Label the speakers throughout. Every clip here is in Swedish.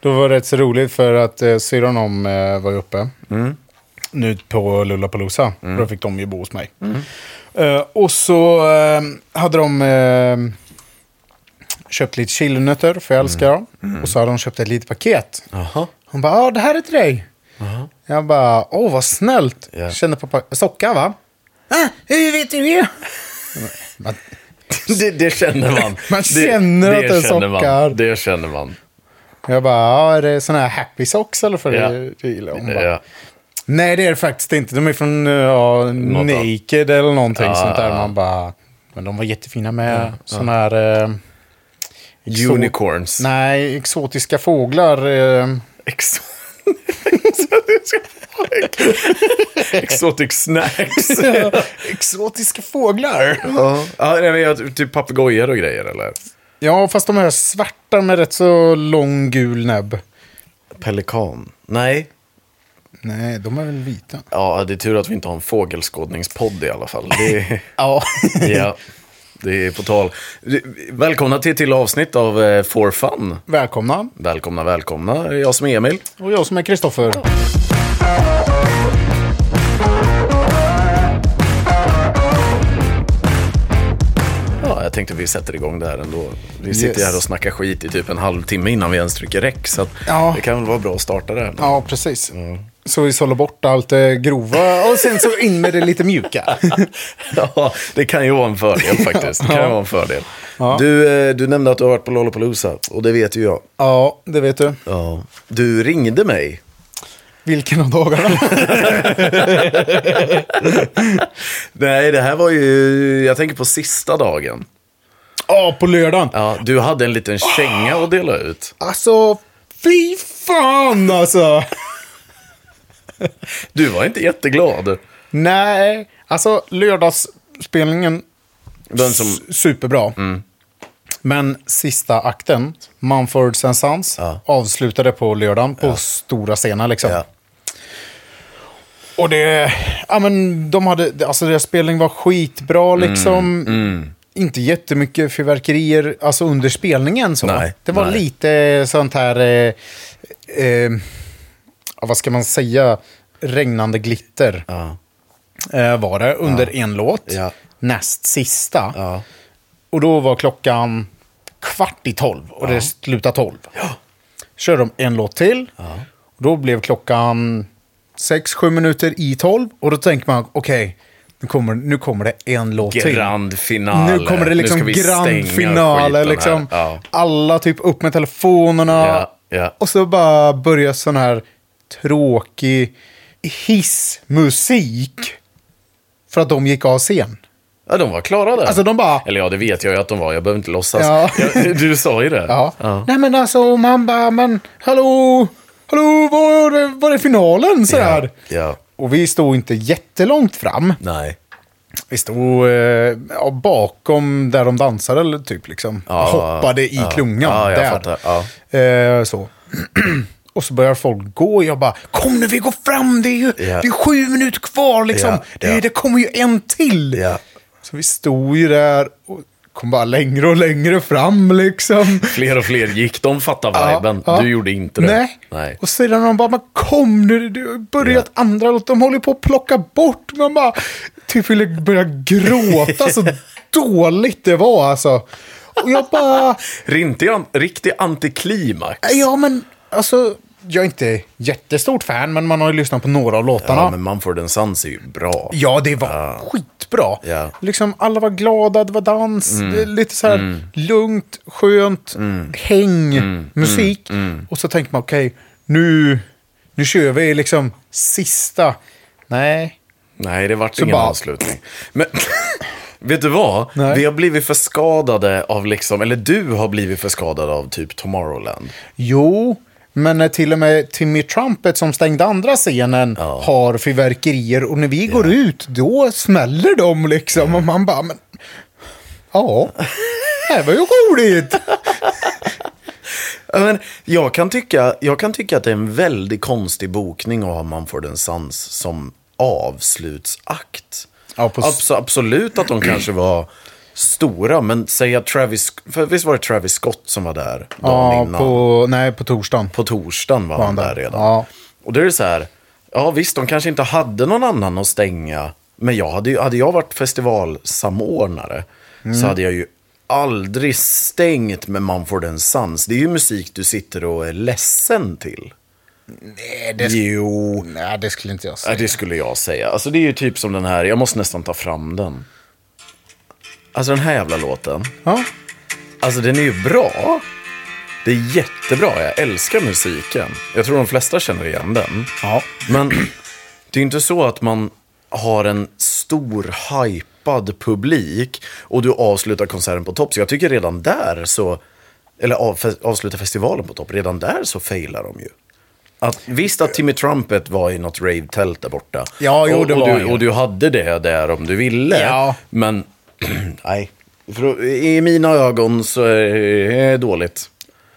Speaker 1: Då var det rätt så roligt för att eh, syrran om eh, var ju uppe.
Speaker 2: Mm.
Speaker 1: Nu på Lollapalooza. Då fick de ju bo hos mig.
Speaker 2: Mm.
Speaker 1: Eh, och så eh, hade de eh, köpt lite chilinötter, för
Speaker 2: Mm.
Speaker 1: jag älskar dem. Och så hade de köpt ett litet paket.
Speaker 2: Jaha.
Speaker 1: Hon bara, ja det här är till dig. Jag bara, åh vad snällt.
Speaker 2: Ja.
Speaker 1: Kände pappa, socka va? Ah, hur vet du det? Man,
Speaker 2: Det, det känner man.
Speaker 1: Man känner att den
Speaker 2: känner
Speaker 1: sockar.
Speaker 2: man. Det känner man.
Speaker 1: jag bara, ja är det sådana här happy socks eller för
Speaker 2: Ja. Eh,
Speaker 1: det du gillar? Hon bara,
Speaker 2: Ja.
Speaker 1: Nej det är det faktiskt inte. De är från eh, ja,
Speaker 2: Något
Speaker 1: Naked eller någonting
Speaker 2: Ja,
Speaker 1: sånt där.
Speaker 2: ja, ja.
Speaker 1: Man bara, men de var jättefina med sådana här... Eh, exo-
Speaker 2: Unicorns.
Speaker 1: Nej, exotiska fåglar. Eh,
Speaker 2: Ex- Exotic snacks.
Speaker 1: exotiska fåglar?
Speaker 2: ja, Ja, nej, men jag, typ papegojor och grejer eller?
Speaker 1: Ja, fast de här svarta med rätt så lång gul näbb.
Speaker 2: Pelikan. Nej.
Speaker 1: Nej, de är väl vita.
Speaker 2: Ja, det är tur att vi inte har en fågelskådningspodd i alla fall. Det,
Speaker 1: Ja.
Speaker 2: ja, det är på tal. Välkomna till ett till avsnitt av eh, For Fun.
Speaker 1: Välkomna.
Speaker 2: Välkomna, välkomna. Jag som är Emil.
Speaker 1: Och jag som är Kristoffer.
Speaker 2: Ja, jag tänkte vi sätter igång där ändå. Vi sitter
Speaker 1: Yes.
Speaker 2: här och snackar skit i typ en halvtimme innan vi ens trycker räck. Så att
Speaker 1: Ja.
Speaker 2: det kan väl vara bra att starta där. Ja.
Speaker 1: Ja, precis. Så vi sållar bort allt det grova och sen så in med det lite mjuka.
Speaker 2: det kan ju vara en fördel faktiskt. Det kan ju vara en fördel. Du, eh, du nämnde att du har varit på Lollapalooza och det vet ju jag.
Speaker 1: Ja, det vet du.
Speaker 2: Ja. Du ringde mig.
Speaker 1: Vilken av dagarna?
Speaker 2: Nej, det här var ju, jag tänker på sista dagen.
Speaker 1: Ja, på lördagen.
Speaker 2: Ja, du hade en liten känga att dela ut.
Speaker 1: Alltså, fy fan alltså.
Speaker 2: Du var inte jätteglad.
Speaker 1: Nej, alltså lördagsspelningen,
Speaker 2: Den som,
Speaker 1: s- superbra. Men sista akten, Mumfords and Sons,
Speaker 2: Ja.
Speaker 1: avslutade på lördagen på stora scener liksom.
Speaker 2: ja.
Speaker 1: Och det, ja men de hade, alltså deras spelning var skitbra
Speaker 2: Mm,
Speaker 1: liksom. Inte jättemycket fyrverkerier alltså under spelningen så.
Speaker 2: Nej,
Speaker 1: det var
Speaker 2: nej.
Speaker 1: lite sånt här, eh, eh, ja, vad ska man säga, regnande glitter.
Speaker 2: Ja.
Speaker 1: Eh, var det, under en låt.
Speaker 2: Ja.
Speaker 1: Näst sista.
Speaker 2: Ja.
Speaker 1: Och då var klockan kvart i tolv och det slutade tolv. Körde de en låt till. Och då blev klockan sex, sju minuter i tolv. Och då tänker man, okej, nu, kommer, nu kommer det en låt till.
Speaker 2: Grand finale.
Speaker 1: Typ. Nu kommer det liksom
Speaker 2: ska vi stänga
Speaker 1: grand finale.
Speaker 2: skiten
Speaker 1: Liksom.
Speaker 2: här. Ja.
Speaker 1: Alla typ upp med telefonerna.
Speaker 2: Ja, ja.
Speaker 1: Och så bara börjar sån här tråkig hissmusik. För att de gick av scen.
Speaker 2: Ja, de var klara där.
Speaker 1: Alltså, de bara-
Speaker 2: Eller ja, det vet jag ju att de var. Jag behöver inte låtsas.
Speaker 1: Ja.
Speaker 2: Ja, du sa ju det.
Speaker 1: Ja. Nej men alltså, man bara, men hallå, hallå, var är, var är finalen? Sådär.
Speaker 2: ja.
Speaker 1: Och vi stod inte jättelångt fram.
Speaker 2: Nej.
Speaker 1: Vi stod eh, ja, bakom där de dansade, eller typ liksom.
Speaker 2: Ja,
Speaker 1: Hoppade i
Speaker 2: ja.
Speaker 1: klungan.
Speaker 2: Ja, jag
Speaker 1: där.
Speaker 2: fattar. Ja.
Speaker 1: Eh, så. Och så börjar folk gå och jag bara, kom nu vi går fram, det är ju
Speaker 2: Ja.
Speaker 1: det är sju minuter kvar liksom.
Speaker 2: Ja,
Speaker 1: Det, är-
Speaker 2: ja.
Speaker 1: det kommer ju en till.
Speaker 2: Ja.
Speaker 1: Så vi stod ju där och kom bara längre och längre fram liksom.
Speaker 2: Fler och fler gick. De fattade viben.
Speaker 1: Ja, ja.
Speaker 2: Du gjorde inte det.
Speaker 1: Nej.
Speaker 2: Nej.
Speaker 1: Och sedan de bara, men kom nu, du har börjat andra låt. De håller på att plocka bort. Man bara, typ ville börja gråta. så dåligt det var alltså. Och jag bara,
Speaker 2: Riktig, an- riktig antiklimax.
Speaker 1: ja men alltså, jag är inte jättestort fan, men man har ju lyssnat på några av låtarna.
Speaker 2: Ja, men Mumford and Sons är ju bra.
Speaker 1: Ja, det var skitbra.
Speaker 2: Ja.
Speaker 1: Liksom, alla var glada, det var dans, det är lite så här lugnt, skönt, häng, musik. Och så tänker man, okej, nu, nu kör vi liksom sista. Nej.
Speaker 2: Nej, det vart ingen
Speaker 1: bara-
Speaker 2: avslutning. Men vet du vad?
Speaker 1: Nej.
Speaker 2: Vi har blivit förskadade av liksom, eller du har blivit förskadad av typ Tomorrowland.
Speaker 1: Jo, men när till och med Timmy Trumpet som stängde andra scenen har fyrverkerier och när vi går ut, då smäller de liksom. Och man bara, men... Ja, det här var ju roligt.
Speaker 2: Ja, Men jag, kan tycka, jag kan tycka att det är en väldigt konstig bokning att ha Mumford and Sons som avslutsakt.
Speaker 1: Ja, på s-
Speaker 2: Abs- absolut att de kanske var stora, men säga Travis... För visst var det Travis Scott som var där dagen
Speaker 1: Ja,
Speaker 2: innan?
Speaker 1: på, nej, på torsdagen.
Speaker 2: på torsdagen var han där redan.
Speaker 1: Ja.
Speaker 2: Och då är det så här, ja visst, de kanske inte hade någon annan att stänga. Men jag hade, ju, hade jag varit festivalsamordnare så hade jag ju aldrig stängt med Mumford Sons. Det är ju musik du sitter och är ledsen till.
Speaker 1: Nej, det, sk-
Speaker 2: Jo,
Speaker 1: nej, det skulle inte jag säga.
Speaker 2: ja, det skulle jag säga. Alltså det är ju typ som den här, jag måste nästan ta fram den. Alltså den här jävla låten.
Speaker 1: Ja.
Speaker 2: Alltså den är ju bra. Det är jättebra, jag älskar musiken. Jag tror de flesta känner igen den.
Speaker 1: Ja.
Speaker 2: Men det är ju inte så att man har en stor hypad publik och du avslutar konserten på topp. Så jag tycker redan där så, eller av, avslutar festivalen på topp, redan där så failar de ju. Att, visst att Timmy Trumpet var i något rave-tält där borta.
Speaker 1: Ja, jo,
Speaker 2: och,
Speaker 1: det
Speaker 2: och
Speaker 1: var
Speaker 2: du,
Speaker 1: ju.
Speaker 2: Och du hade det där om du ville.
Speaker 1: Ja.
Speaker 2: Men, nej. För, då- I mina ögon så är det dåligt.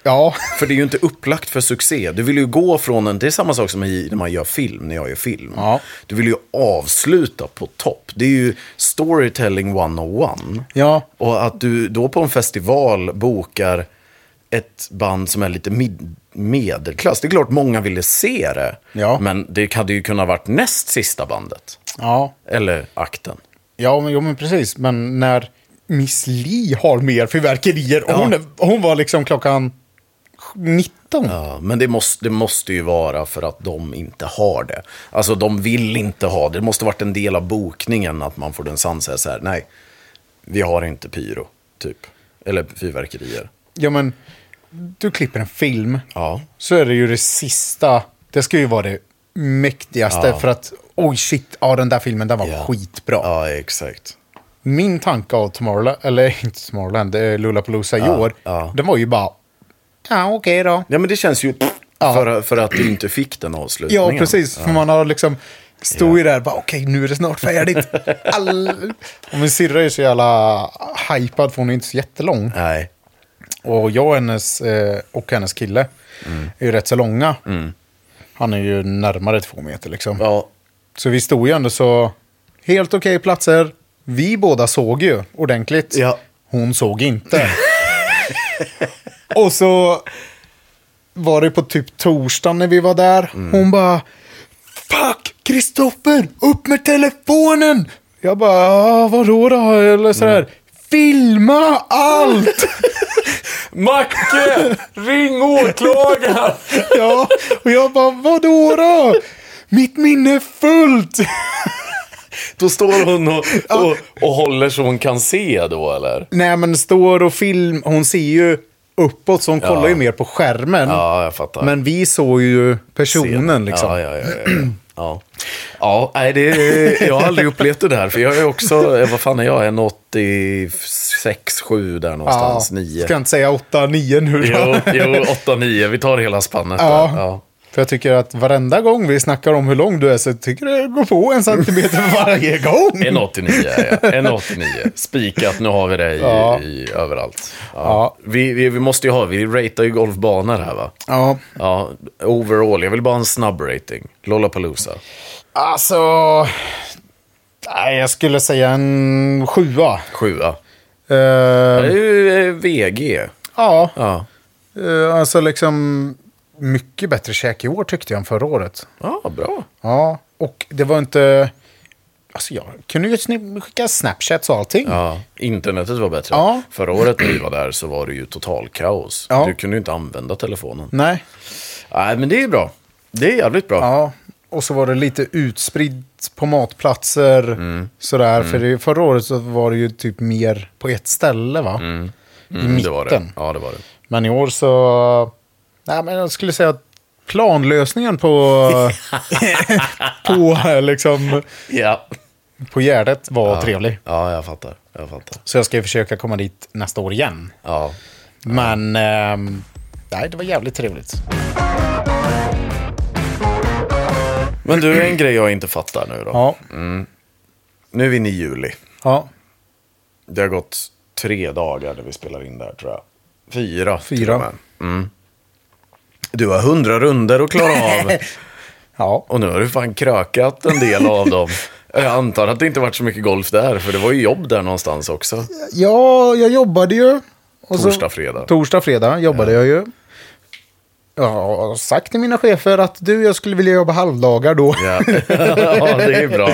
Speaker 1: ja.
Speaker 2: För det är ju inte upplagt för succé. Du vill ju gå från en... Det är samma sak som i, när man gör film, när jag gör film.
Speaker 1: Ja.
Speaker 2: Du vill ju avsluta på topp. Det är ju storytelling 101.
Speaker 1: Ja.
Speaker 2: Och att du då på en festival bokar ett band som är lite mid- medelklass. Det är klart många ville se det.
Speaker 1: Ja.
Speaker 2: Men det hade ju kunnat varit näst sista bandet.
Speaker 1: Ja.
Speaker 2: Eller akten.
Speaker 1: Ja, men, jo, men precis. Men när Miss Li har mer fyrverkerier. Och
Speaker 2: Ja.
Speaker 1: hon, är, hon var liksom klockan 19.
Speaker 2: Ja, men det måste, det måste ju vara för att de inte har det. Alltså de vill inte ha det. Det måste varit en del av bokningen att man får den sans här, så här, nej, vi har inte pyro, typ. Eller fyrverkerier.
Speaker 1: Ja, men du klipper en film.
Speaker 2: Ja.
Speaker 1: Så är det ju det sista. Det ska ju vara det mäktigaste.
Speaker 2: Ja.
Speaker 1: För att, oj shit, ja den där filmen den var
Speaker 2: Ja.
Speaker 1: skitbra.
Speaker 2: Ja, exakt.
Speaker 1: Min tanke av Tomorrowland, eller inte Tomorrowland, det är Lollapalooza i år.
Speaker 2: ja.
Speaker 1: Den var ju bara, ja okej då.
Speaker 2: Ja, men det känns ju
Speaker 1: Ja.
Speaker 2: för, för att du inte fick den avslutningen.
Speaker 1: Ja, precis. För man har liksom, stod ju där bara okej, nu är det snart färdigt. All... Och min syrra är så jävla hypad för hon är inte så jättelång.
Speaker 2: Nej.
Speaker 1: Och jag och hennes, eh, och hennes kille är ju rätt så långa. Han är ju närmare två meter liksom.
Speaker 2: Ja,
Speaker 1: Så vi stod ju ändå så, helt okej platser. Vi båda såg ju ordentligt.
Speaker 2: Ja.
Speaker 1: Hon såg inte. och så var det på typ torsdagen när vi var där. Hon bara, fuck Kristoffer, upp med telefonen! Jag bara, "Ah, vadå då? Eller sådär. Filma allt!
Speaker 2: Macke! Ring åklagaren!
Speaker 1: ja, och jag bara, vadå då? Mitt minne är fullt!
Speaker 2: Då står hon och, och, och håller så hon kan se då, eller?
Speaker 1: Nej men står och film, hon ser ju uppåt så hon kollar ju mer på skärmen.
Speaker 2: Ja, jag fattar.
Speaker 1: Men vi såg ju
Speaker 2: scenen.
Speaker 1: personen liksom.
Speaker 2: Ja, ja, ja. ja, ja. ja. ja nej, det, jag har aldrig upplevt det där. För jag är också, eh, vad fan är jag, en 86, 7 där någonstans,
Speaker 1: Ja,
Speaker 2: 9.
Speaker 1: Ska jag inte säga 8-9 nu då?
Speaker 2: Jo, jo, 8, 9. Vi tar hela spannet
Speaker 1: Ja.
Speaker 2: där. Ja.
Speaker 1: För jag tycker att varenda gång vi snackar om hur lång du är så tycker jag det går på en centimeter varje gång.
Speaker 2: En 89 är jag. En 89. Spikat, nu har vi det i,
Speaker 1: Ja.
Speaker 2: i, överallt. Ja.
Speaker 1: Ja.
Speaker 2: Vi, vi, vi måste ju ha, vi ratear ju golfbanor här va?
Speaker 1: Ja,
Speaker 2: Ja, overall. Jag vill bara ha en snabb rating. Lollapalooza.
Speaker 1: alltså... Nej, jag skulle säga en sjua.
Speaker 2: Sjua.
Speaker 1: Eh,
Speaker 2: Det är ju eh, VG.
Speaker 1: ja,
Speaker 2: Ja.
Speaker 1: eh, alltså liksom... Mycket bättre käk i år tyckte jag än förra året.
Speaker 2: Ja, bra.
Speaker 1: Ja, och det var inte... Alltså jag kunde ju sni- skicka snapchats och allting.
Speaker 2: Ja, internetet var bättre.
Speaker 1: Ja.
Speaker 2: Förra året när vi var där så var det ju total kaos.
Speaker 1: Ja.
Speaker 2: Du kunde ju inte använda telefonen.
Speaker 1: Nej.
Speaker 2: Nej, men det är ju bra. Det är jävligt bra.
Speaker 1: Ja, och så var det lite utspritt på matplatser.
Speaker 2: Mm.
Speaker 1: Sådär, för det, förra året så var det ju typ mer på ett ställe va? I
Speaker 2: Mm,
Speaker 1: mitten.
Speaker 2: det var det. Ja, det var det.
Speaker 1: Men i år så... Nej, men jag skulle säga att planlösningen på... på eh, liksom...
Speaker 2: Ja.
Speaker 1: På Gärdet var trevlig.
Speaker 2: Ja, jag fattar. Jag fattar.
Speaker 1: Så jag ska ju försöka komma dit nästa år igen.
Speaker 2: Ja.
Speaker 1: Men... ehm, nej, det var jävligt trevligt.
Speaker 2: Men du, en grej jag inte fattar nu då.
Speaker 1: Ja.
Speaker 2: Nu är vi inne i juli.
Speaker 1: Ja,
Speaker 2: Det har gått tre dagar när vi spelar in där, tror jag. Fyra. till
Speaker 1: Fyra.
Speaker 2: och med. Mm. Du har hundra runder att klara av.
Speaker 1: ja.
Speaker 2: Och nu har du fan krökat en del av dem. Jag antar att det inte varit så mycket golf där, för det var ju jobb där någonstans också.
Speaker 1: Ja, jag jobbade ju. Och så-
Speaker 2: Torsdag, fredag.
Speaker 1: Torsdag, fredag jobbade jag ju. Jag har sagt till mina chefer att du, jag skulle vilja jobba halvdagar då.
Speaker 2: Ja, ja det är ju bra.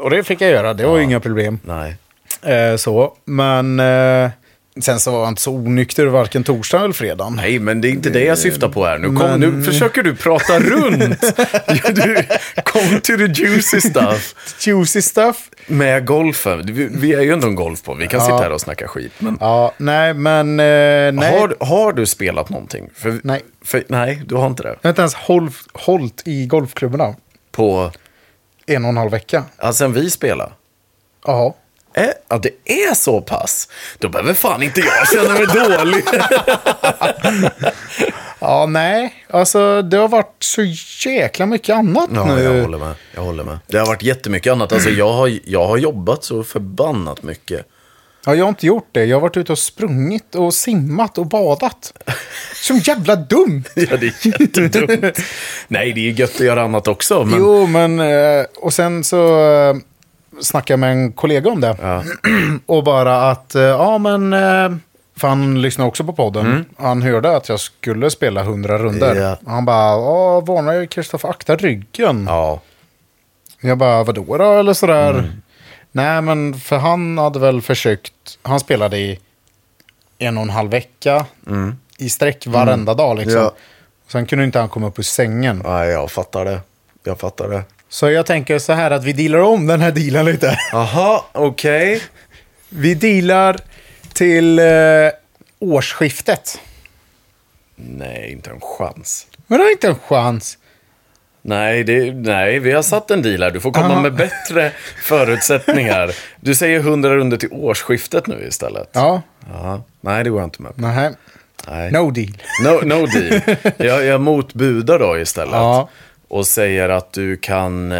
Speaker 1: Och det fick jag göra, det var ju inga problem.
Speaker 2: Nej.
Speaker 1: Eh, så, men eh, sen så var jag inte så onykter varken torsdag eller fredag.
Speaker 2: Nej, men det är inte det jag syftar på här. Nu, kom, nu försöker du prata runt. Du, kom till the juicy stuff.
Speaker 1: Juicy stuff.
Speaker 2: Med golfen. Vi, vi är ju ändå en golfpodd. Vi kan sitta här och snacka skit. Men
Speaker 1: Ja, nej, men... Eh, nej.
Speaker 2: har, har du spelat någonting? För,
Speaker 1: Nej.
Speaker 2: För, nej, du har inte det.
Speaker 1: Jag har inte ens håll, hållit i golfklubborna
Speaker 2: På...
Speaker 1: en och en halv vecka.
Speaker 2: Ja, sen vi spelade.
Speaker 1: Jaha.
Speaker 2: Äh, ja, det är så pass. Då behöver fan inte jag känna mig dålig.
Speaker 1: Ja, nej. Alltså, det har varit så jäkla mycket annat
Speaker 2: Ja,
Speaker 1: nu.
Speaker 2: jag håller med. Jag håller med. Det har varit jättemycket annat. Alltså, jag, har, jag har jobbat så förbannat mycket.
Speaker 1: Ja, jag har inte gjort det. Jag har varit ute och sprungit och simmat och badat. Som jävla dumt!
Speaker 2: Ja, det är jättedumt. Nej, det är ju gött att göra annat också. Men...
Speaker 1: Jo, men... eh, Och sen så eh, snackade jag med en kollega om det.
Speaker 2: Ja.
Speaker 1: Och bara att, eh, ja men... eh, För han lyssnar också på podden. Han hörde att jag skulle spela 100 runder.
Speaker 2: Mm. Ja.
Speaker 1: Han bara, ja varnar ju Kristoffer, akta ryggen.
Speaker 2: Ja.
Speaker 1: Jag bara, vadå då? Eller sådär. Nej, men för han hade väl försökt. Han spelade i en och en halv vecka i sträck varenda dag. Liksom.
Speaker 2: Ja.
Speaker 1: Sen kunde inte han komma upp ur sängen.
Speaker 2: Nej, jag fattar det. Jag fattar det.
Speaker 1: Så jag tänker så här att vi dealar om den här dealen lite.
Speaker 2: Aha, okej.
Speaker 1: Vi dealar till eh, årsskiftet.
Speaker 2: Nej, inte en chans.
Speaker 1: Men det är inte en chans.
Speaker 2: Nej, det, nej, vi har satt en deal här. Du får komma
Speaker 1: Aha.
Speaker 2: med bättre förutsättningar. Du säger 100 runder till årsskiftet nu istället.
Speaker 1: Ja,
Speaker 2: Ja. Nej, det går jag inte med på.
Speaker 1: nej.
Speaker 2: Nej.
Speaker 1: No deal.
Speaker 2: No, no deal. Jag, jag motbudar då istället.
Speaker 1: Ja.
Speaker 2: Och säger att du kan, eh,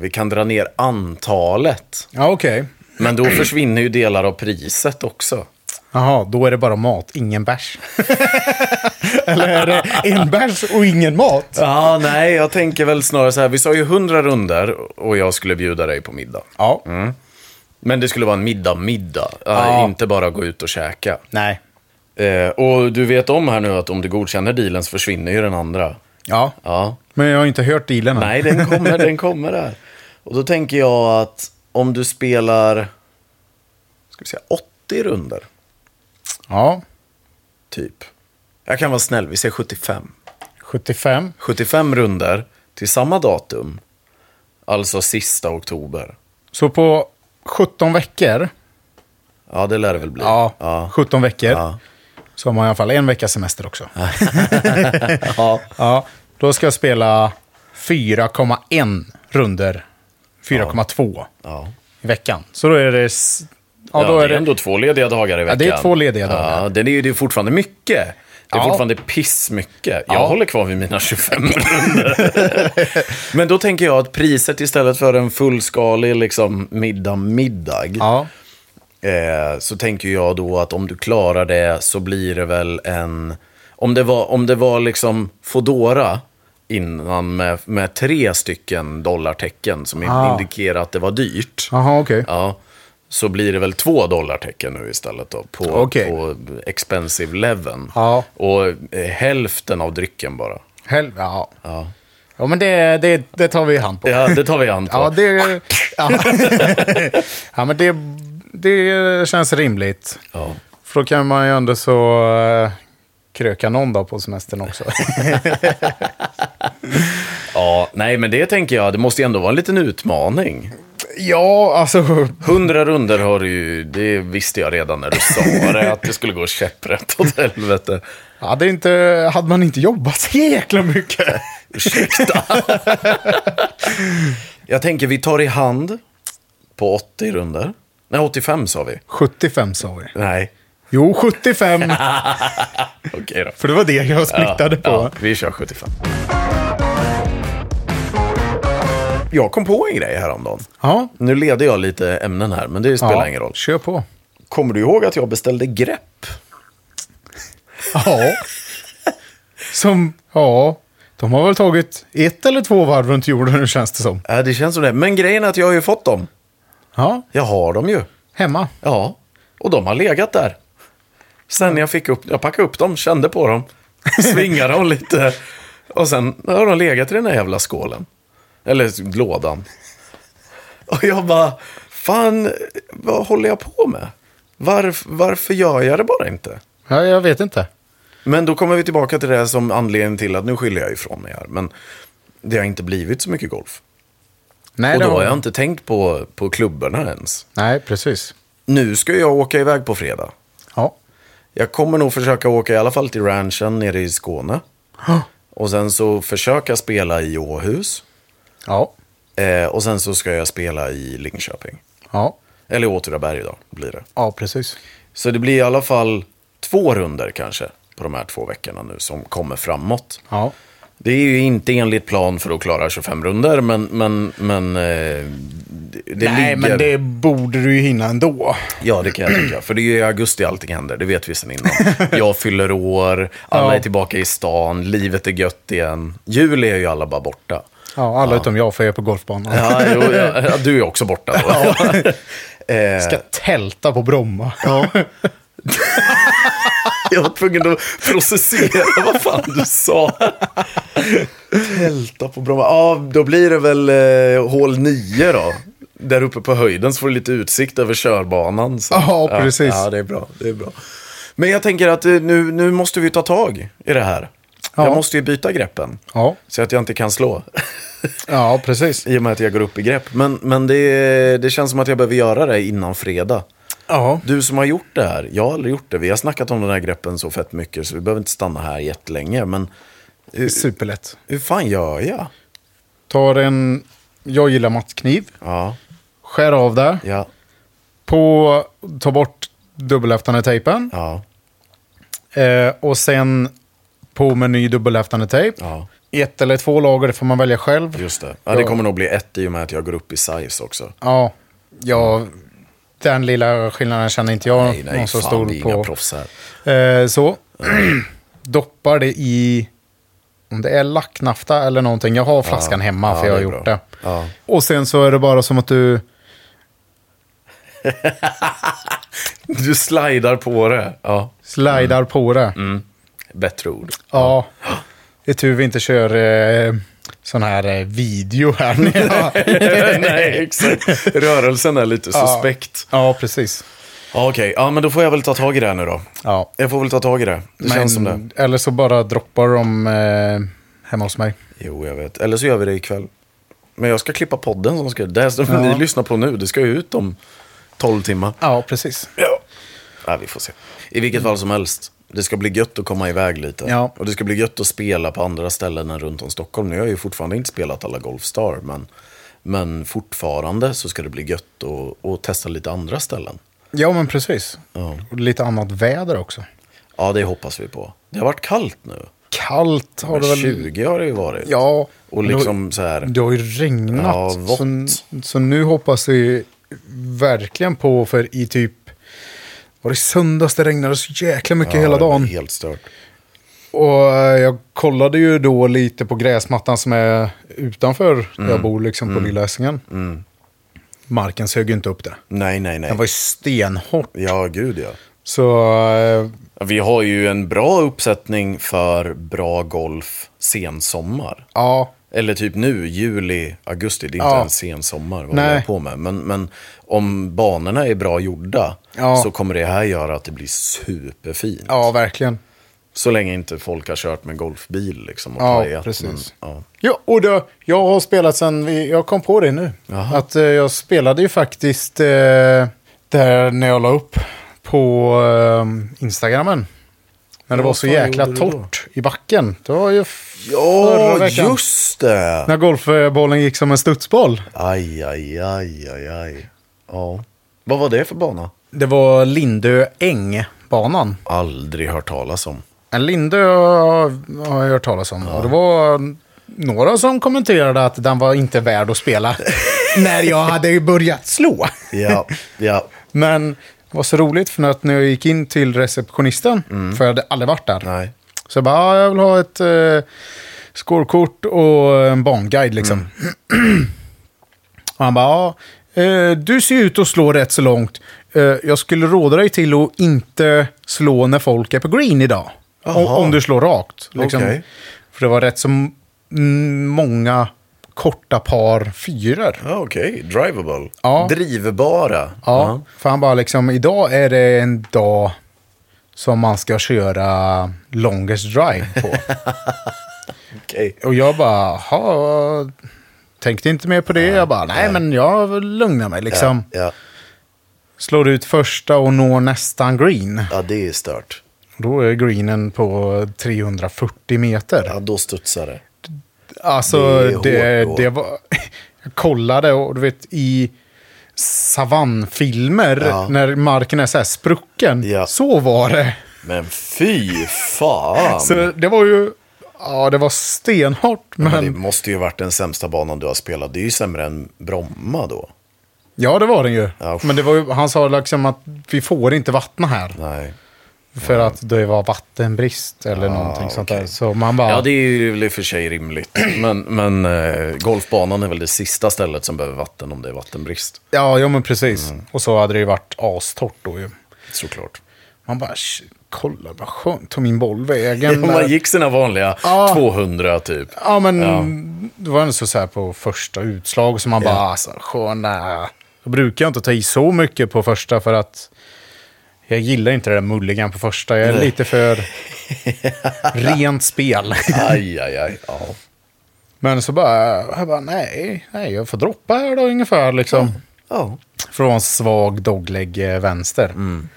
Speaker 2: vi kan dra ner antalet.
Speaker 1: Ja, okej.
Speaker 2: Men då försvinner ju delar av priset också.
Speaker 1: Jaha, då är det bara mat, ingen bärs. Eller är det en bärs och ingen mat?
Speaker 2: Ja, nej, jag tänker väl snarare så här. Vi sa ju 100 runder och jag skulle bjuda dig på middag.
Speaker 1: Ja.
Speaker 2: Men det skulle vara en middag-middag, eh,
Speaker 1: Ja.
Speaker 2: inte bara gå ut och käka.
Speaker 1: Nej.
Speaker 2: Eh, och du vet om här nu att om du godkänner dealen så försvinner ju den andra.
Speaker 1: Ja.
Speaker 2: Ja,
Speaker 1: Men jag har inte hört dealen än.
Speaker 2: Nej, den kommer, den kommer där. Och då tänker jag att om du spelar, ska vi säga 80 runder
Speaker 1: Ja.
Speaker 2: typ. Jag kan vara snäll, vi säger 75.
Speaker 1: 75.
Speaker 2: 75 runder till samma datum, alltså sista oktober.
Speaker 1: Så på 17 veckor.
Speaker 2: Ja, det lär det väl bli.
Speaker 1: Ja.
Speaker 2: ja.
Speaker 1: 17 veckor.
Speaker 2: Ja.
Speaker 1: Så har man i alla fall en veckas semester också. Ja.
Speaker 2: ja.
Speaker 1: Då ska jag spela 4,1 runder. 4,2
Speaker 2: ja.
Speaker 1: i veckan. Så då är det... s- Ja,
Speaker 2: Ja,
Speaker 1: då är
Speaker 2: det är
Speaker 1: det...
Speaker 2: ändå två lediga dagar i veckan.
Speaker 1: det är två lediga dagar.
Speaker 2: Ja, det är ju det är fortfarande mycket. Det är
Speaker 1: Ja.
Speaker 2: fortfarande pissmycket. Jag håller kvar vid mina 25 runder. Men då tänker jag att priset istället för en fullskalig liksom, middag, middag.
Speaker 1: Ja.
Speaker 2: Eh, så tänker jag då att om du klarar det så blir det väl en... Om det var, om det var liksom Fodora innan med, med tre stycken dollartecken som
Speaker 1: Ah.
Speaker 2: indikerar att det var dyrt.
Speaker 1: Jaha, okej.
Speaker 2: Ja, så blir det väl två dollartecken nu istället då på,
Speaker 1: Okej.
Speaker 2: på expensive leveln.
Speaker 1: Ja.
Speaker 2: Och eh, hälften av drycken bara.
Speaker 1: Hel... Ja.
Speaker 2: Ja,
Speaker 1: ja, men det, det, det tar vi i hand på.
Speaker 2: ja det tar vi an på.
Speaker 1: Ja, det... Ja, ja men det, det känns rimligt.
Speaker 2: Ja.
Speaker 1: För då kan man ju ändå så eh, kröka någon dag på semestern också.
Speaker 2: ja, nej men det tänker jag, det måste ju ändå vara en liten utmaning.
Speaker 1: ja, alltså.
Speaker 2: Hundra runder har du ju, det visste jag redan när du sa det, att det skulle gå käpprätt åt helvete.
Speaker 1: Hade, inte, hade man inte jobbat så jäkla mycket.
Speaker 2: Ursäkta. jag tänker vi tar i hand på 80 runder. Nej, 85 sa vi.
Speaker 1: 75 sa vi.
Speaker 2: Nej,
Speaker 1: Jo, 75.
Speaker 2: okej då.
Speaker 1: För det var det jag splittade på.
Speaker 2: Ja, vi kör 75. Jag kom på en grej häromdagen.
Speaker 1: Ja.
Speaker 2: Nu leder jag lite ämnen här, men det spelar ingen roll.
Speaker 1: Kör på.
Speaker 2: Kommer du ihåg att jag beställde grepp?
Speaker 1: Ja. Som, ja. De har väl tagit ett eller två varv runt jorden nu känns det som.
Speaker 2: Ja, Äh, det känns som det. Men grejen är att jag har ju fått dem.
Speaker 1: Ja,
Speaker 2: Jag har dem ju.
Speaker 1: hemma.
Speaker 2: Ja, och de har legat där. Sen jag fick upp, jag packade upp dem, kände på dem, svingade dem lite. Och sen har de legat i den där jävla skålen. Eller lådan. Och jag bara, fan, vad håller jag på med? Varf, varför gör jag det bara inte?
Speaker 1: Ja, jag vet inte.
Speaker 2: Men då kommer vi tillbaka till det här som anledning till att nu skiljer jag ifrån mig här. Men det har inte blivit så mycket golf.
Speaker 1: Nej,
Speaker 2: Och
Speaker 1: det
Speaker 2: då har
Speaker 1: har-
Speaker 2: jag inte tänkt på, på klubborna ens.
Speaker 1: Nej, precis.
Speaker 2: Nu ska jag åka iväg på fredag.
Speaker 1: Ja.
Speaker 2: Jag kommer nog försöka åka i alla fall till ranchen nere i Skåne. Och sen så försöka spela i Åhus.
Speaker 1: Ja.
Speaker 2: Eh, och sen så ska jag spela i Linköping.
Speaker 1: Ja.
Speaker 2: Eller Åtvidaberg då, blir det.
Speaker 1: Ja, precis.
Speaker 2: Så det blir i alla fall två runder kanske på de här två veckorna nu som kommer framåt.
Speaker 1: Ja.
Speaker 2: Det är ju inte enligt plan för att klara 25 runder men, men, men eh, det, det
Speaker 1: Nej,
Speaker 2: ligger...
Speaker 1: men det borde du ju hinna ändå.
Speaker 2: Ja, det kan jag tycka. För det är ju i augusti allting händer, det vet vi sedan innan. Jag fyller år, alla
Speaker 1: Ja.
Speaker 2: är tillbaka i stan, livet är gött igen. Juli är ju alla bara borta.
Speaker 1: Ja, alla utom jag för jag är på golfbanan.
Speaker 2: Ja, jo, ja, ja, du är också borta då. Eh,
Speaker 1: Ska tälta på Bromma.
Speaker 2: Ja. Jag var tvungen att processera vad fan du sa. Tälta på Bromma. Ja, då blir det väl eh, hål 9 då. Där uppe på höjden så får du lite utsikt över körbanan. Så.
Speaker 1: Ja, precis.
Speaker 2: Ja, det är bra. Det är bra. Men jag tänker att eh, nu, nu måste vi ta tag i det här.
Speaker 1: Ja.
Speaker 2: Jag måste ju byta greppen.
Speaker 1: Ja,
Speaker 2: Så att jag inte kan slå.
Speaker 1: ja precis.
Speaker 2: I och med att jag går upp i grepp. Men, men det, det känns som att jag behöver göra det innan fredag.
Speaker 1: Ja.
Speaker 2: Du som har gjort det här, jag har aldrig gjort det. Vi har snackat om den här greppen så fett mycket så vi behöver inte stanna här jättelänge. Men
Speaker 1: Superlätt.
Speaker 2: hur fan gör jag?
Speaker 1: Tar en, jag gillar mattkniv,
Speaker 2: Ja,
Speaker 1: skär av där,
Speaker 2: ja,
Speaker 1: på, ta bort dubbelhäftande tejpen
Speaker 2: ja,
Speaker 1: eh, och sen på med ny dubbelhäftande tejp.
Speaker 2: ja.
Speaker 1: Ett eller två lager, det får man välja själv.
Speaker 2: Just det. Ja, det
Speaker 1: Ja.
Speaker 2: kommer nog bli ett i och med att jag går upp i size också.
Speaker 1: Ja, ja, den lilla skillnaden känner inte jag
Speaker 2: Nej, nej,
Speaker 1: någon så
Speaker 2: fan,
Speaker 1: stor
Speaker 2: vi är inga Mm.
Speaker 1: på.
Speaker 2: proffs här.
Speaker 1: Eh, så. Doppar det i, om det är lacknafta eller någonting. Jag har flaskan hemma
Speaker 2: ja,
Speaker 1: för jag
Speaker 2: det
Speaker 1: har
Speaker 2: är
Speaker 1: gjort
Speaker 2: bra.
Speaker 1: det.
Speaker 2: Ja.
Speaker 1: Och sen så är det bara som att du...
Speaker 2: Du slidar på det. Ja,
Speaker 1: Slidar
Speaker 2: Mm.
Speaker 1: på det.
Speaker 2: bättre ord.
Speaker 1: Ja. Det är tur vi inte kör eh, sån här eh, video här nere.
Speaker 2: nej, exakt. Rörelsen är lite suspekt.
Speaker 1: ja, precis.
Speaker 2: Ja, okej. Ja, men då får jag väl ta tag i det här nu då.
Speaker 1: Ja.
Speaker 2: Jag får väl ta tag i det. Det känns som det.
Speaker 1: Eller så bara droppar de eh, hemma hos mig.
Speaker 2: Jo, jag vet. Eller så gör vi det ikväll. Men jag ska klippa podden som ska... Det här som ni lyssnar på nu, det ska ju ut om 12 timmar.
Speaker 1: Ja, precis.
Speaker 2: Ja. Nej, vi får se. I vilket fall som helst. Det ska bli gött att komma iväg lite.
Speaker 1: Ja.
Speaker 2: Och det ska bli gött att spela på andra ställen än runt om Stockholm. Nu har jag ju fortfarande inte spelat alla Golfstar, men, men fortfarande så ska det bli gött att, att testa lite andra ställen.
Speaker 1: Ja, men precis.
Speaker 2: Ja.
Speaker 1: Och lite annat väder också.
Speaker 2: Ja, det hoppas vi på. Det har varit kallt nu.
Speaker 1: Kallt har det
Speaker 2: Men
Speaker 1: väl...
Speaker 2: 20 har det ju varit.
Speaker 1: Ja.
Speaker 2: Och liksom så här...
Speaker 1: Det har ju regnat.
Speaker 2: Ja, vått.
Speaker 1: så, så nu hoppas vi verkligen på, för i typ... Var det i söndags det regnade så jäkla mycket
Speaker 2: Ja,
Speaker 1: hela
Speaker 2: det var
Speaker 1: dagen.
Speaker 2: Helt stört.
Speaker 1: Och eh, jag kollade ju då lite på gräsmattan som är utanför där
Speaker 2: Mm.
Speaker 1: jag bor, liksom på Lilla Essingen. Marken sög ju inte upp det.
Speaker 2: Nej, nej, nej.
Speaker 1: Den var ju stenhård.
Speaker 2: Ja, gud ja.
Speaker 1: Så eh,
Speaker 2: Vi har ju en bra uppsättning för bra golf sensommar.
Speaker 1: ja,
Speaker 2: Eller typ nu, juli, augusti. Det är inte
Speaker 1: Ja.
Speaker 2: en sensommar vad vi
Speaker 1: Nej.
Speaker 2: håller på med. Men, men om banorna är bra gjorda
Speaker 1: Ja.
Speaker 2: så kommer det här göra att det blir superfint.
Speaker 1: ja, verkligen.
Speaker 2: Så länge inte folk har kört med golfbil liksom och
Speaker 1: Ja,
Speaker 2: pajat,
Speaker 1: precis.
Speaker 2: Men, ja.
Speaker 1: Ja, och då, jag har spelat sen, vi- jag kom på det nu.
Speaker 2: Jaha.
Speaker 1: Att eh, jag spelade ju faktiskt eh, där när jag la upp på eh, Instagramen. Men det
Speaker 2: Ja,
Speaker 1: var så
Speaker 2: vad fan
Speaker 1: jäkla
Speaker 2: gjorde du då?
Speaker 1: torrt i backen. Det var ju f- förra
Speaker 2: ja
Speaker 1: veckan.
Speaker 2: just det!
Speaker 1: När golfbollen gick som en studsboll.
Speaker 2: Aj, aj, aj, aj, aj. Ja. Vad var det för bana?
Speaker 1: Det var Lindö Äng-banan.
Speaker 2: Aldrig hört talas om.
Speaker 1: En Lindö har jag hört talas om. Och det var några som kommenterade att den var inte värd att spela. när jag hade ju börjat slå.
Speaker 2: Ja, ja.
Speaker 1: Men det var så roligt för att när jag gick in till receptionisten, för jag hade aldrig varit där.
Speaker 2: Nej.
Speaker 1: Så jag bara, "Ah, jag vill ha ett eh, skålkort och en barnguide liksom.
Speaker 2: Mm.
Speaker 1: och han bara, ja, eh, du ser ut att slå rätt så långt. Eh, jag skulle råda dig till att inte slå när folk är på green idag. Om,
Speaker 2: Jaha.
Speaker 1: om du slår rakt. Liksom.
Speaker 2: Okej.
Speaker 1: För det var rätt så m- mm, många korta par fyror.
Speaker 2: Ja, Ah, Okej, drivable.
Speaker 1: Ja.
Speaker 2: Drivbara.
Speaker 1: Ja, för han bara liksom, idag är det en dag som man ska köra longest drive på.
Speaker 2: Okej.
Speaker 1: Och jag bara, jaha, tänkte inte mer på det. Jag bara, nej men jag lugnar mig liksom.
Speaker 2: Ja.
Speaker 1: Slår ut första och når nästan green.
Speaker 2: ja, det är stört.
Speaker 1: Då är greenen på 340 meter.
Speaker 2: Ja, då studsar det.
Speaker 1: Alltså,
Speaker 2: Det är hårt
Speaker 1: det,
Speaker 2: då.
Speaker 1: det var... Jag kollade och du vet i savannfilmer
Speaker 2: Ja.
Speaker 1: när marken är så här sprucken.
Speaker 2: Ja.
Speaker 1: Så var det.
Speaker 2: Men fy fan!
Speaker 1: Så det var ju... Ja, det var stenhårt,
Speaker 2: Men det
Speaker 1: men...
Speaker 2: måste ju varit den sämsta banan du har spelat. Det är ju sämre än Bromma då.
Speaker 1: Ja, det var den ju.
Speaker 2: Ja, usch.
Speaker 1: Men det var ju, han sa liksom att vi får inte vattna här.
Speaker 2: Nej.
Speaker 1: För att det var vattenbrist eller någonting sånt där. Så man bara...
Speaker 2: Ja, det är ju väl i och för sig rimligt. Men, men eh, golfbanan är väl det sista stället som behöver vatten om det är vattenbrist.
Speaker 1: Ja, ja men precis. Och så hade det ju varit astort då ju.
Speaker 2: Såklart.
Speaker 1: Man bara, "Sh, kolla vad skönt, tog min boll vägen.
Speaker 2: Om man gick sina vanliga
Speaker 1: Ja.
Speaker 2: 200 typ.
Speaker 1: Ja, men det var ändå så så här på första utslag som man bara, alltså sköna. Då brukar jag inte ta i så mycket på första för att jag gillar inte det där mulligan på första. Jag är lite för rent spel.
Speaker 2: Aj, aj, aj. Ja.
Speaker 1: Men så bara, jag bara nej, nej, jag får droppa här då ungefär liksom.
Speaker 2: ja.
Speaker 1: Från svag dogleg eh, vänster.
Speaker 2: Mm.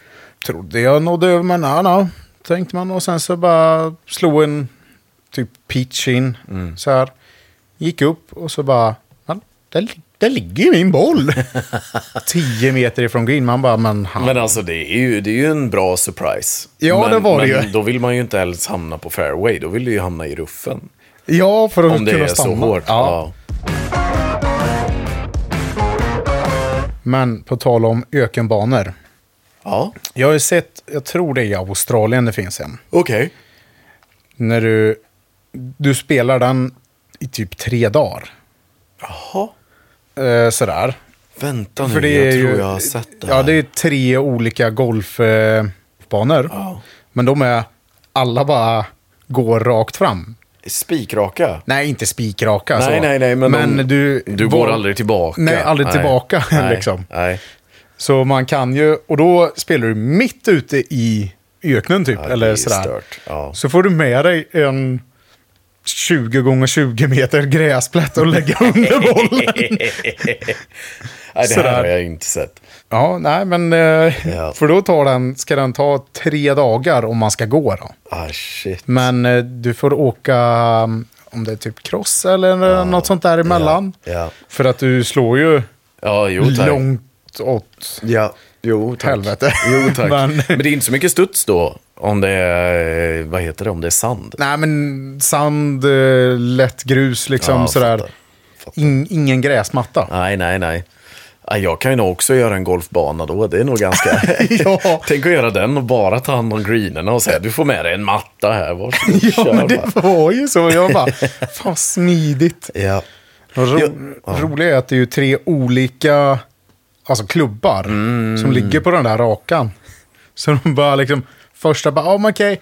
Speaker 1: Trodde jag nådde över, men nej, nej, tänkte man. Och sen så bara slog en typ pitch in
Speaker 2: Mm.
Speaker 1: så här. Gick upp och så bara, man, där, li- där ligger ju min boll. Tio meter ifrån green, man bara, men han...
Speaker 2: Men alltså det är, ju, det är ju en bra surprise.
Speaker 1: Ja,
Speaker 2: men,
Speaker 1: det var det
Speaker 2: men
Speaker 1: ju.
Speaker 2: då vill man ju inte helst hamna på fairway. Då vill du ju hamna i ruffen.
Speaker 1: ja, för att
Speaker 2: Om det
Speaker 1: kunna
Speaker 2: är så
Speaker 1: stanna.
Speaker 2: hårt.
Speaker 1: Ja. Men på tal om ökenbanor.
Speaker 2: ja.
Speaker 1: Jag har ju sett, jag tror det är i Australien det finns en.
Speaker 2: Okej.
Speaker 1: När du, du spelar den i typ tre dagar.
Speaker 2: Jaha.
Speaker 1: Eh, sådär.
Speaker 2: Vänta nu,
Speaker 1: För det
Speaker 2: jag
Speaker 1: är
Speaker 2: tror
Speaker 1: ju,
Speaker 2: jag har sett det
Speaker 1: Ja,
Speaker 2: här.
Speaker 1: det är tre olika golfbanor.
Speaker 2: Ja.
Speaker 1: Men de är, alla bara går rakt fram.
Speaker 2: Spikraka.
Speaker 1: Nej, inte spikraka.
Speaker 2: Nej,
Speaker 1: så.
Speaker 2: nej, nej, men de-
Speaker 1: Alltså, du,
Speaker 2: Du går aldrig tillbaka.
Speaker 1: Nej, aldrig tillbaka,
Speaker 2: Nej.
Speaker 1: liksom.
Speaker 2: Nej.
Speaker 1: Så man kan ju, och då spelar du mitt ute i öknen typ.
Speaker 2: Ja, det är
Speaker 1: eller sådär.
Speaker 2: stört, ja.
Speaker 1: Så får du med dig en 20 gånger 20 meter gräsplätt och lägga under bollen.
Speaker 2: Nej, det
Speaker 1: Sådär.
Speaker 2: här har jag inte sett.
Speaker 1: ja, nej men. Eh,
Speaker 2: Ja.
Speaker 1: För då tar den, ska den ta tre dagar om man ska gå då.
Speaker 2: Ah, shit.
Speaker 1: Men eh, du får åka, mm, om det är typ cross eller något sånt där emellan.
Speaker 2: Ja, ja.
Speaker 1: För att du slår ju
Speaker 2: Ja, jo tack.
Speaker 1: långt åt
Speaker 2: Ja, jo tack.
Speaker 1: helvete.
Speaker 2: Jo tack.
Speaker 1: Men-
Speaker 2: Men... det är inte så mycket studs då, om det är, eh, vad heter det, om det är sand.
Speaker 1: Nej, men sand, eh, lätt grus liksom
Speaker 2: Ja,
Speaker 1: sådär.
Speaker 2: fattar. Fattar.
Speaker 1: In, ingen gräsmatta.
Speaker 2: Nej, nej, nej. Ja, Jag kan ju nog också göra en golfbana då, det är nog ganska...
Speaker 1: Ja.
Speaker 2: Tänk att göra den och bara ta hand om greenerna och säga du får med dig en matta här, varsågod,
Speaker 1: Ja,
Speaker 2: kör
Speaker 1: men
Speaker 2: bara."
Speaker 1: det var ju så. Jag bara, fan vad smidigt.
Speaker 2: Ja.
Speaker 1: Ro,
Speaker 2: Ja.
Speaker 1: Roliga är att det är ju tre olika alltså klubbar
Speaker 2: Mm.
Speaker 1: som ligger på den där rakan. Så de bara liksom, första bara, oh, okej,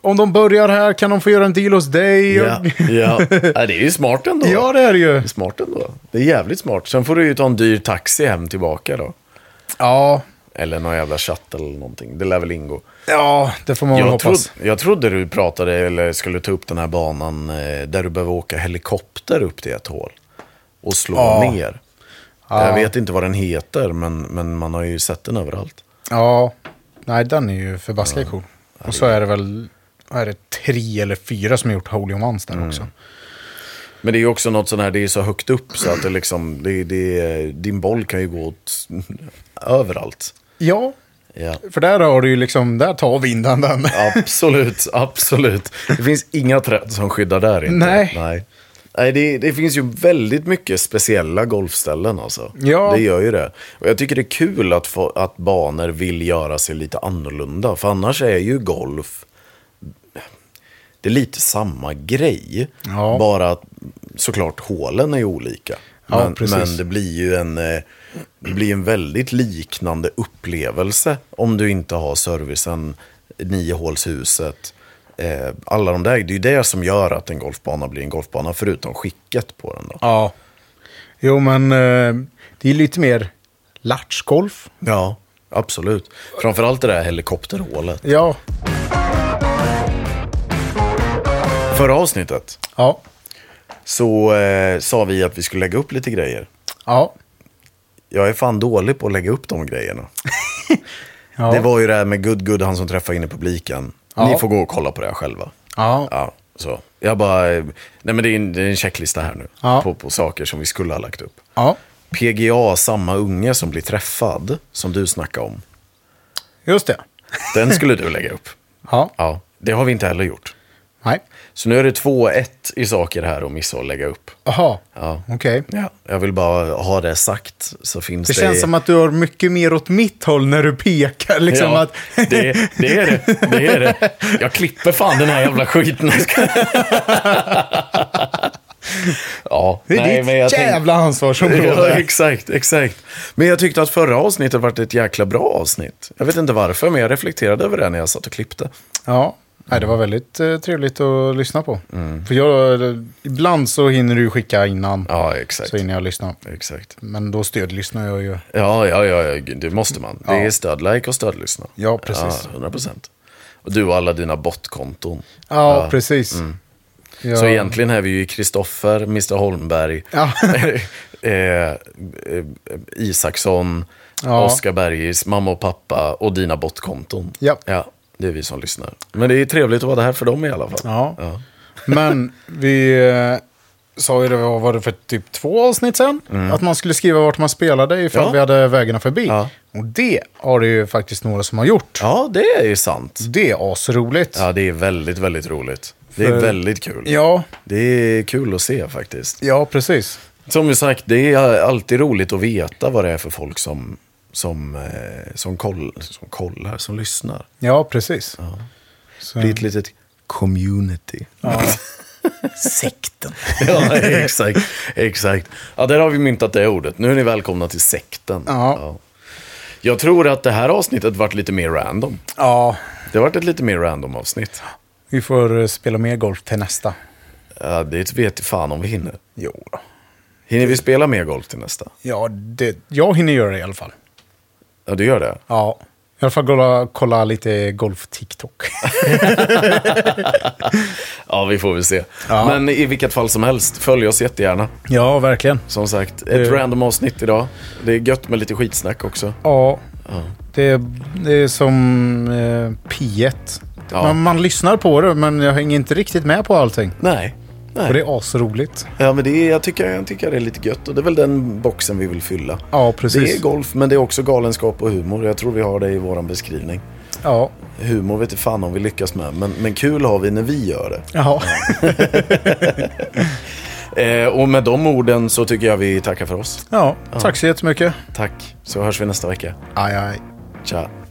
Speaker 1: om de börjar här kan de få göra en deal hos dig.
Speaker 2: Ja,
Speaker 1: Och-
Speaker 2: ja. ja, det är ju smart ändå.
Speaker 1: ja, det är det ju.
Speaker 2: Det är smart ändå. Det är jävligt smart. Sen får du ju ta en dyr taxi hem tillbaka då.
Speaker 1: Ja,
Speaker 2: Eller någon jävla chatt eller någonting. Det lär väl ingå.
Speaker 1: ja det får man väl
Speaker 2: Jag, trod,
Speaker 1: hoppas.
Speaker 2: jag trodde du pratade eller skulle ta upp den här banan eh, där du behöver åka helikopter upp till ett hål. Och slå
Speaker 1: Ja.
Speaker 2: ner. Jag vet inte vad den heter, men, men man har ju sett den överallt.
Speaker 1: Ja, nej den är ju förbaskat cool. Och så är det väl vad är det tre eller fyra som har gjort Holy Ones
Speaker 2: Mm.
Speaker 1: där också.
Speaker 2: Men det är ju också något sånt här, det är så högt upp så att det liksom, det, det, din boll kan ju gå åt överallt.
Speaker 1: Ja,
Speaker 2: Ja.
Speaker 1: för där har du ju liksom, där tar vinden den.
Speaker 2: Absolut, absolut. Det finns inga träd som skyddar där inte.
Speaker 1: Nej.
Speaker 2: Nej, Nej det, det finns ju väldigt mycket speciella golfställen alltså.
Speaker 1: Ja.
Speaker 2: Det gör ju det. Och jag tycker det är kul att, få, att banor vill göra sig lite annorlunda. För annars är ju golf... Det är lite samma grej.
Speaker 1: Ja.
Speaker 2: Bara att såklart hålen är ju olika.
Speaker 1: Ja,
Speaker 2: men,
Speaker 1: precis.
Speaker 2: men det blir ju en, eh, det blir en väldigt liknande upplevelse om du inte har servicen, niohålshuset, eh, alla de där. Det är ju det som gör att en golfbana blir en golfbana, förutom skicket på den. Då.
Speaker 1: Ja. Jo, men eh, det är lite mer latchgolf.
Speaker 2: Ja, absolut. Framförallt det där helikopterhålet.
Speaker 1: Ja.
Speaker 2: Förra avsnittet
Speaker 1: Ja.
Speaker 2: så eh, sa vi att vi skulle lägga upp lite grejer.
Speaker 1: Ja.
Speaker 2: Jag är fan dålig på att lägga upp de grejerna.
Speaker 1: Ja.
Speaker 2: Det var ju det här med Good Good, han som träffade in i publiken.
Speaker 1: Ja.
Speaker 2: Ni får gå och kolla på det här själva.
Speaker 1: ja.
Speaker 2: Ja, så. Jag bara, eh, nej men det är en, det är en checklista här nu
Speaker 1: Ja.
Speaker 2: på, på saker som vi skulle ha lagt upp.
Speaker 1: Ja.
Speaker 2: PGA, samma unge som blir träffad, som du snackade om.
Speaker 1: Just det.
Speaker 2: Den skulle du lägga upp.
Speaker 1: Ja.
Speaker 2: Ja, det har vi inte heller gjort.
Speaker 1: Nej.
Speaker 2: Så nu är det 2-1 i saker här och missa att lägga upp.
Speaker 1: Jaha.
Speaker 2: Ja.
Speaker 1: Okej.
Speaker 2: Ja, jag vill bara ha det sagt så finns det...
Speaker 1: Det känns som att du har mycket mer åt mitt håll när du pekar. Liksom
Speaker 2: ja,
Speaker 1: att,
Speaker 2: det, det är det. Det är det. Jag klipper fan den här jävla skiten. ja,
Speaker 1: det är ditt jävla
Speaker 2: Ja,
Speaker 1: ansvarsområde.
Speaker 2: exakt, exakt. Men jag tyckte att förra avsnittet var ett jäkla bra avsnitt. Jag vet inte varför, men jag reflekterade över det när jag satt och klippte.
Speaker 1: Ja. Nej, det var väldigt eh, trevligt att lyssna på. För jag, ibland så hinner du skicka innan.
Speaker 2: Mm. Ja, exakt.
Speaker 1: Så hinner jag lyssna.
Speaker 2: Exakt.
Speaker 1: Men då stödlyssnar jag ju.
Speaker 2: Ja, ja, ja, ja, det måste man. Det är stödlike och stödlyssna.
Speaker 1: Ja, precis.
Speaker 2: Ja, 100 procent. Och du och alla dina botkonton.
Speaker 1: Ja, precis. Ja.
Speaker 2: Mm. Så egentligen är vi ju Kristoffer, Mr Holmberg,
Speaker 1: Ja.
Speaker 2: eh, eh, Isaksson,
Speaker 1: Ja.
Speaker 2: Oskar Bergis, mamma och pappa och dina botkonton.
Speaker 1: Ja.
Speaker 2: ja. Det är vi som lyssnar. Men det är trevligt att vara här för dem i alla fall.
Speaker 1: Ja. Men vi eh, sa ju det, vad var det för typ två avsnitt sen? Att man skulle skriva vart man spelade ifall
Speaker 2: Mm. Ja.
Speaker 1: vi hade vägarna förbi.
Speaker 2: Ja.
Speaker 1: Och det har det ju faktiskt några som har gjort.
Speaker 2: Ja, det är ju sant.
Speaker 1: Det är asroligt.
Speaker 2: Ja, det är väldigt, väldigt roligt. Det är
Speaker 1: För-
Speaker 2: väldigt kul.
Speaker 1: ja,
Speaker 2: Det är kul att se faktiskt.
Speaker 1: ja, precis.
Speaker 2: Som vi sagt, det är alltid roligt att veta vad det är för folk som, som, eh, som, koll, som kollar, som lyssnar.
Speaker 1: Ja, precis. Så,
Speaker 2: Det är ett litet community.
Speaker 1: ja. Sekten.
Speaker 2: ja, exakt. exakt. Ja, där har vi myntat det ordet. Nu är ni välkomna till sekten.
Speaker 1: Ja.
Speaker 2: Jag tror att det här avsnittet vart lite mer random.
Speaker 1: Ja,
Speaker 2: Det vart ett lite mer random avsnitt.
Speaker 1: vi får eh, spela mer golf till nästa.
Speaker 2: Ja, det vet fan om vi hinner.
Speaker 1: Jo då.
Speaker 2: Hinner vi spela mer golf till nästa?
Speaker 1: Ja, det, jag hinner göra det i alla fall.
Speaker 2: Ja, du gör det?
Speaker 1: Ja, i alla fall kolla, kolla lite golf-TikTok.
Speaker 2: Ja, vi får väl se.
Speaker 1: Ja.
Speaker 2: Men i vilket fall som helst, följ oss jättegärna.
Speaker 1: ja, verkligen.
Speaker 2: Som sagt, ett random avsnitt idag. Det är gött med lite skitsnack också.
Speaker 1: Ja, det, är- det är som eh, P1.
Speaker 2: Ja.
Speaker 1: Man, man lyssnar på det, men jag hänger inte riktigt med på allting.
Speaker 2: Nej.
Speaker 1: Och det
Speaker 2: Nej.
Speaker 1: är asroligt.
Speaker 2: Ja, men det är, jag, tycker, jag tycker det är lite gött och det är väl den boxen vi vill fylla.
Speaker 1: Ja,
Speaker 2: Det
Speaker 1: precis.
Speaker 2: är golf, men det är också galenskap och humor. Jag tror vi har det i vår beskrivning.
Speaker 1: Ja.
Speaker 2: Humor vet inte fan om vi lyckas med, men, men kul har vi när vi gör det.
Speaker 1: Jaha.
Speaker 2: Eh, och med de orden så tycker jag vi tackar för oss.
Speaker 1: Ja, tack så jättemycket.
Speaker 2: Tack, så hörs vi nästa vecka.
Speaker 1: Aj, aj.
Speaker 2: Ciao.